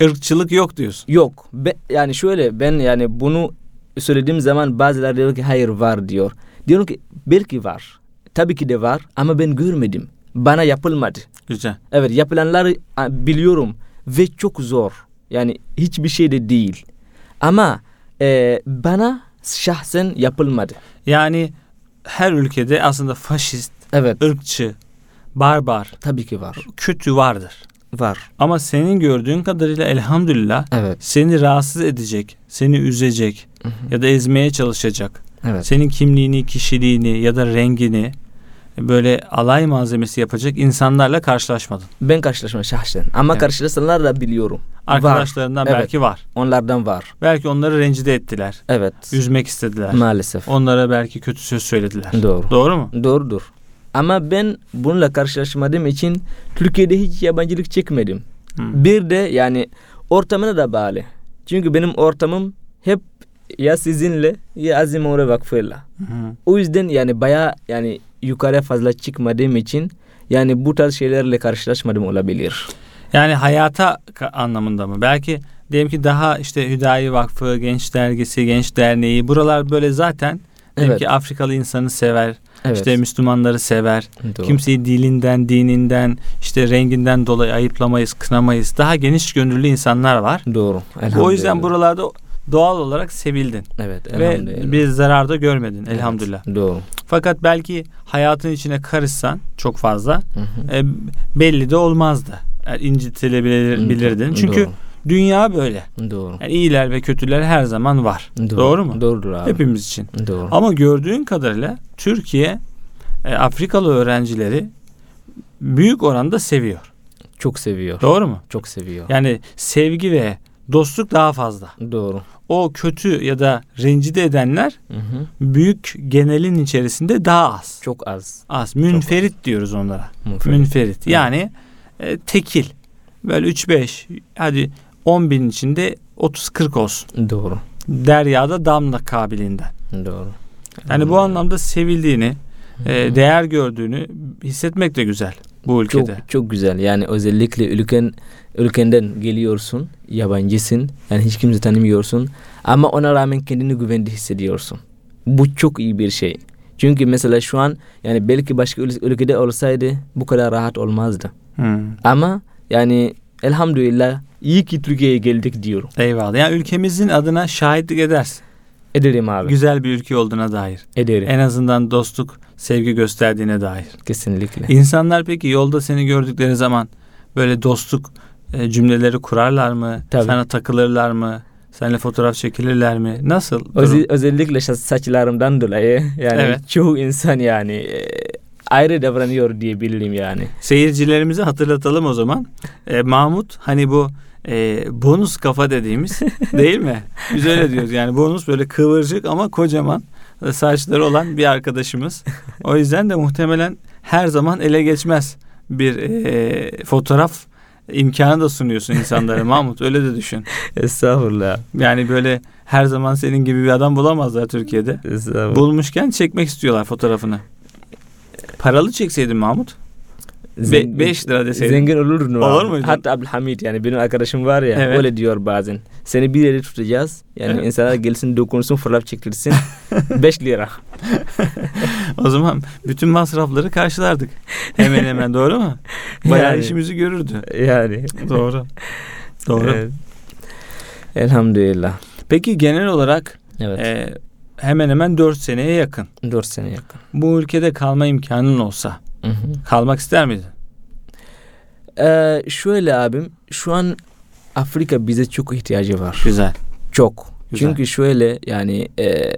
Irkçılık yok diyorsun. Yok. Be, yani şöyle ben yani bunu söylediğim zaman bazıları diyor ki hayır var diyor. Diyorum ki belki var. Tabii ki de var ama ben görmedim. Bana yapılmadı. Güzel. Evet yapılanları a, biliyorum ve çok zor. Yani hiçbir şey de değil. Ama e, bana şahsen yapılmadı. Yani her ülkede aslında faşist, Evet. ırkçı, barbar, Tabii ki var. kötü vardır. Var. Ama senin gördüğün kadarıyla elhamdülillah Evet. seni rahatsız edecek, seni üzecek ya da ezmeye çalışacak. Evet. Senin kimliğini, kişiliğini ya da rengini böyle alay malzemesi yapacak insanlarla karşılaşmadın. Ben karşılaşma şahsen. Ama Evet. karşılaşanlar da biliyorum. Arkadaşlarından Evet. belki var. Onlardan var. Belki onları rencide ettiler, Evet. üzmek istediler. Maalesef. Onlara belki kötü söz söylediler. Doğru. Doğru mu? Doğrudur. Ama ben bununla karşılaşmadığım için Türkiye'de hiç yabancılık çekmedim. Hı. Bir de yani ortamına da bağlı. Çünkü benim ortamım hep ya sizinle ya Azim Uğur Vakfı'yla. Hı. O yüzden yani bayağı yani yukarıya fazla çıkmadığım için yani bu tarz şeylerle karşılaşmadım olabilir. Yani hayata ka- anlamında mı? Belki diyelim ki daha işte Hüdayi Vakfı, Genç Dergisi, Genç Derneği buralar böyle zaten diyelim Evet. ki Afrikalı insanı sever, Evet. işte Müslümanları sever. Doğru. Kimseyi dilinden, dininden, işte renginden dolayı ayıplamayız, kınamayız. Daha geniş gönüllü insanlar var. Doğru. O Elhamdülillah. yüzden buralarda doğal olarak sevildin evet, elhamdülillah. ve bir zarar da görmedin elhamdülillah. Doğru. Fakat belki hayatın içine karışsan çok fazla Hı hı. e, belli de olmazdı. Yani Hmm. incitilebilirdin. Çünkü dünya böyle. doğru. Doğru. Yani iyiler ve kötüler her zaman var. Doğru mu? Doğrudur abi. Hepimiz için. Doğru. Ama gördüğün kadarıyla Türkiye e, Afrikalı öğrencileri büyük oranda seviyor. Çok seviyor. Doğru mu? Çok seviyor. Yani sevgi ve dostluk daha fazla. Doğru. O kötü ya da rencide edenler Hı hı. büyük genelin içerisinde daha az. Çok az. Az. Münferit diyoruz onlara. Münferit. Münferit. Yani e, tekil. Böyle 3-5 hadi 10 bin içinde 30-40 olsun. Doğru. Deryada damla kabiliğinden. Doğru. Yani bu anlamda sevildiğini, e, değer gördüğünü hissetmek de güzel bu çok ülkede. çok güzel. Yani özellikle ülken ülkenden geliyorsun, yabancısın. Yani hiç kimse tanımıyorsun ama ona rağmen kendini güvende hissediyorsun. Bu çok iyi bir şey. Çünkü mesela şu an yani belki başka ül- ülkede olsaydı bu kadar rahat olmazdı. Hmm. Ama yani elhamdülillah iyi ki Türkiye'ye geldik diyorum. Eyvallah. Yani ülkemizin adına şahitlik edersin. Ederim abi. Güzel bir ülke olduğuna dair. Ederim. En azından dostluk, sevgi gösterdiğine dair. Kesinlikle. İnsanlar peki yolda seni gördükleri zaman böyle dostluk e, cümleleri kurarlar mı? Tabii. Sana takılırlar mı? Seninle fotoğraf çekilirler mi? Nasıl? durum? Özel- özellikle şa- saçlarımdan dolayı yani Evet. çoğu insan yani e, ayrı davranıyor diyebilirim yani. Seyircilerimize hatırlatalım o zaman. E, Mahmut hani bu e, bonus kafa dediğimiz değil mi? Biz öyle diyoruz yani bonus böyle kıvırcık ama kocaman e, saçları olan bir arkadaşımız. O yüzden de muhtemelen her zaman ele geçmez bir e, fotoğraf imkanı da sunuyorsun insanlara Mahmut öyle de düşün. Estağfurullah. Yani böyle her zaman senin gibi bir adam bulamazlar Türkiye'de. Estağfurullah. Bulmuşken çekmek istiyorlar fotoğrafını. Paralı çekseydin Mahmut. 5 Zengin- lira deseydin. Zengin olur mu? Olur abi? muydun? Hatta Abdülhamid yani benim arkadaşım var ya Evet. öyle diyor bazen. Seni bir yere tutacağız. Yani Evet. insanlar gelsin dokunsun fotoğraf çektirsin. 5 lira. O zaman bütün masrafları karşılardık. Hemen hemen doğru mu? Bayağı Yani. işimizi görürdü. Yani. Doğru. Doğru. Evet. Elhamdülillah. Peki genel olarak Evet. e, hemen hemen 4 seneye yakın. 4 sene yakın. Bu ülkede kalma imkanın olsa Hı hı. kalmak ister miydin? Ee, şöyle abim şu an Afrika bize çok ihtiyacı var. Güzel. Çok. Güzel. Çünkü şöyle yani eee,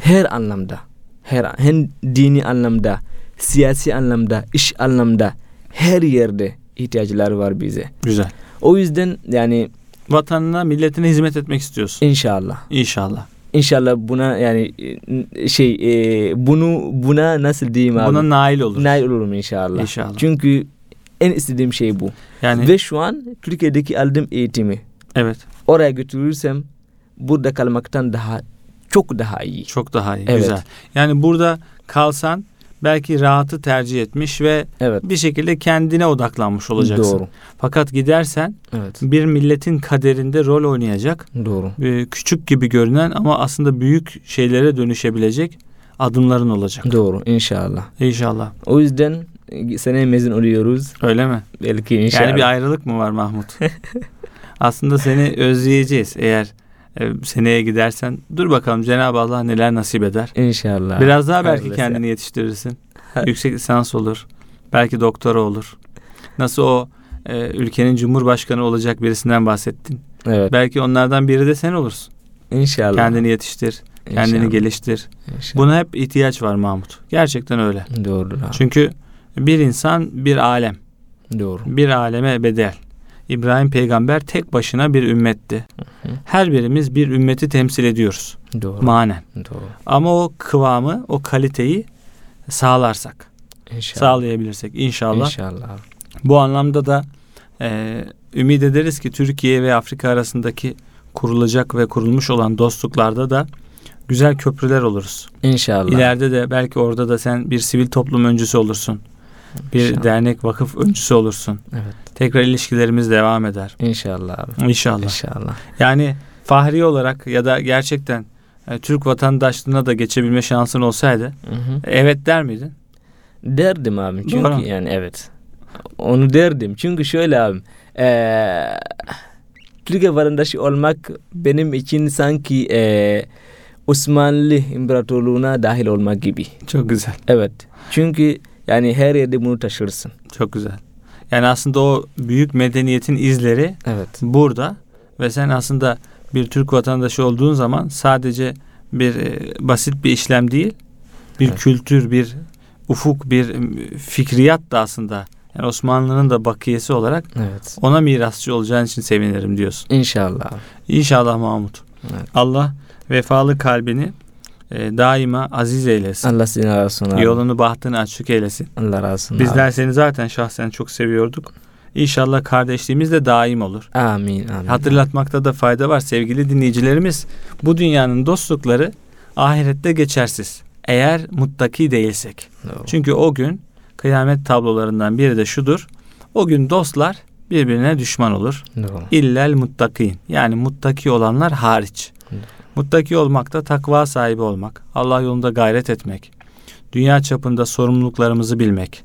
her anlamda, her hem dini anlamda, siyasi anlamda, iş anlamda her yerde ihtiyaçlar var bize. Güzel. O yüzden yani vatanına, milletine hizmet etmek istiyorsun. İnşallah. İnşallah. İnşallah buna yani e, şey e, bunu buna nasıl diyeyim abi? Buna nail olur. nail olurum inşallah. İnşallah. Çünkü en istediğim şey bu. Yani Ve şu an Türkiye'deki aldığım eğitimi evet oraya götürürsem burada kalmaktan daha çok daha iyi. çok daha iyi. Evet. Güzel. Yani burada kalsan belki rahatı tercih etmiş ve Evet. bir şekilde kendine odaklanmış olacaksın. Doğru. Fakat gidersen Evet. bir milletin kaderinde rol oynayacak Doğru. e, küçük gibi görünen ama aslında büyük şeylere dönüşebilecek adımların olacak. Doğru inşallah. İnşallah. O yüzden e, seneye mezun oluyoruz. Öyle mi? Belki inşallah. Yani bir ayrılık mı var Mahmut? aslında seni özleyeceğiz eğer e, seneye gidersen. Dur bakalım Cenab-ı Allah neler nasip eder. İnşallah. Biraz daha belki Hayırlısı. kendini yetiştirirsin. Yüksek lisans olur. Belki doktora olur. Nasıl o e, ülkenin cumhurbaşkanı olacak birisinden bahsettin. Evet. Belki onlardan biri de sen olursun. İnşallah. Kendini yetiştir, kendini İnşallah. geliştir. İnşallah. Buna hep ihtiyaç var Mahmut. Gerçekten öyle. Doğru. abi, Çünkü bir insan bir alem, Doğru. bir aleme bedel. İbrahim peygamber tek başına bir ümmetti. Hı hı. Her birimiz bir ümmeti temsil ediyoruz Doğru. manen. Doğru. Ama o kıvamı, o kaliteyi sağlarsak, İnşallah. sağlayabilirsek inşallah. İnşallah. abi. Bu anlamda da e, ümit ederiz ki Türkiye ve Afrika arasındaki kurulacak ve kurulmuş olan dostluklarda da güzel köprüler oluruz. İnşallah. İleride de belki orada da sen bir sivil toplum öncüsü olursun. Bir İnşallah. dernek vakıf öncüsü olursun. Evet. Tekrar ilişkilerimiz devam eder. İnşallah abi. İnşallah. İnşallah. Yani fahri olarak ya da gerçekten e, Türk vatandaşlığına da geçebilme şansın olsaydı Hı-hı. evet der miydin? Derdim abi çünkü Doğru. yani evet. Onu derdim çünkü şöyle abi. eee, Türkiye vatandaşı olmak benim için sanki eee, Osmanlı İmparatorluğu'na dahil olmak gibi. Çok güzel. Evet. Çünkü yani her yerde bunu taşırsın. Çok güzel. Yani aslında o büyük medeniyetin izleri Evet. burada ve sen aslında bir Türk vatandaşı olduğun zaman sadece bir e, basit bir işlem değil, bir Evet. kültür, bir ufuk, bir e, fikriyat da aslında yani Osmanlı'nın da bakiyesi olarak Evet. ona mirasçı olacağın için sevinirim diyorsun. İnşallah. abi. İnşallah Mahmut. Evet. Allah vefalı kalbini e, daima aziz eylesin. Allah seni razı olsun. abi. Yolunu bahtını açık eylesin. Allah razı olsun. Bizler abi. seni zaten şahsen çok seviyorduk. İnşallah kardeşliğimiz de daim olur. Amin. Amin. Hatırlatmakta da fayda var sevgili dinleyicilerimiz. Bu dünyanın dostlukları ahirette geçersiz. Eğer muttaki değilsek. Doğru. Çünkü o gün kıyamet tablolarından biri de şudur. O gün dostlar birbirine düşman olur. Doğru. İllel muttakin. Yani muttaki olanlar hariç. Evet. Muttaki olmak da takva sahibi olmak. Allah yolunda gayret etmek. Dünya çapında sorumluluklarımızı bilmek.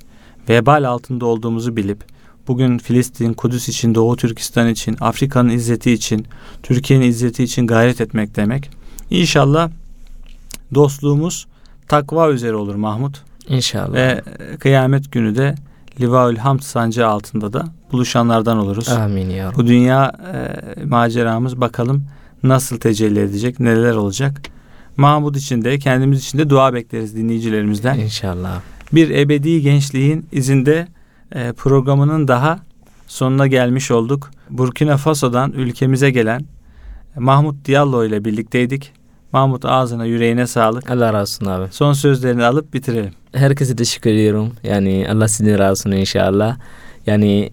Vebal altında olduğumuzu bilip bugün Filistin, Kudüs için, Doğu Türkistan için, Afrika'nın izzeti için, Türkiye'nin izzeti için gayret etmek demek. İnşallah dostluğumuz takva üzere olur Mahmut. İnşallah. Ve e, kıyamet günü de Livaül Hamd sancağı altında da buluşanlardan oluruz. Amin ya Rabbi. Bu dünya e, maceramız bakalım nasıl tecelli edecek, neler olacak. Mahmut için de kendimiz için de dua bekleriz dinleyicilerimizden. İnşallah. Bir ebedi gençliğin izinde e, programının daha sonuna gelmiş olduk. Burkina Faso'dan ülkemize gelen e, Mahmut Diallo ile birlikteydik. Mahmut ağzına yüreğine sağlık. Allah razı olsun abi. Son sözlerini alıp bitirelim. Herkese teşekkür ediyorum. Yani Allah sizin razı olsun inşallah. Yani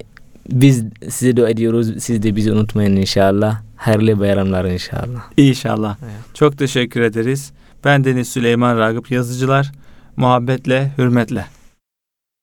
biz size dua ediyoruz. Siz de bizi unutmayın inşallah. Hayırlı bayramlar inşallah. İnşallah. Evet. Çok teşekkür ederiz. Ben Deniz Süleyman Ragıp yazıcılar. Muhabbetle, hürmetle.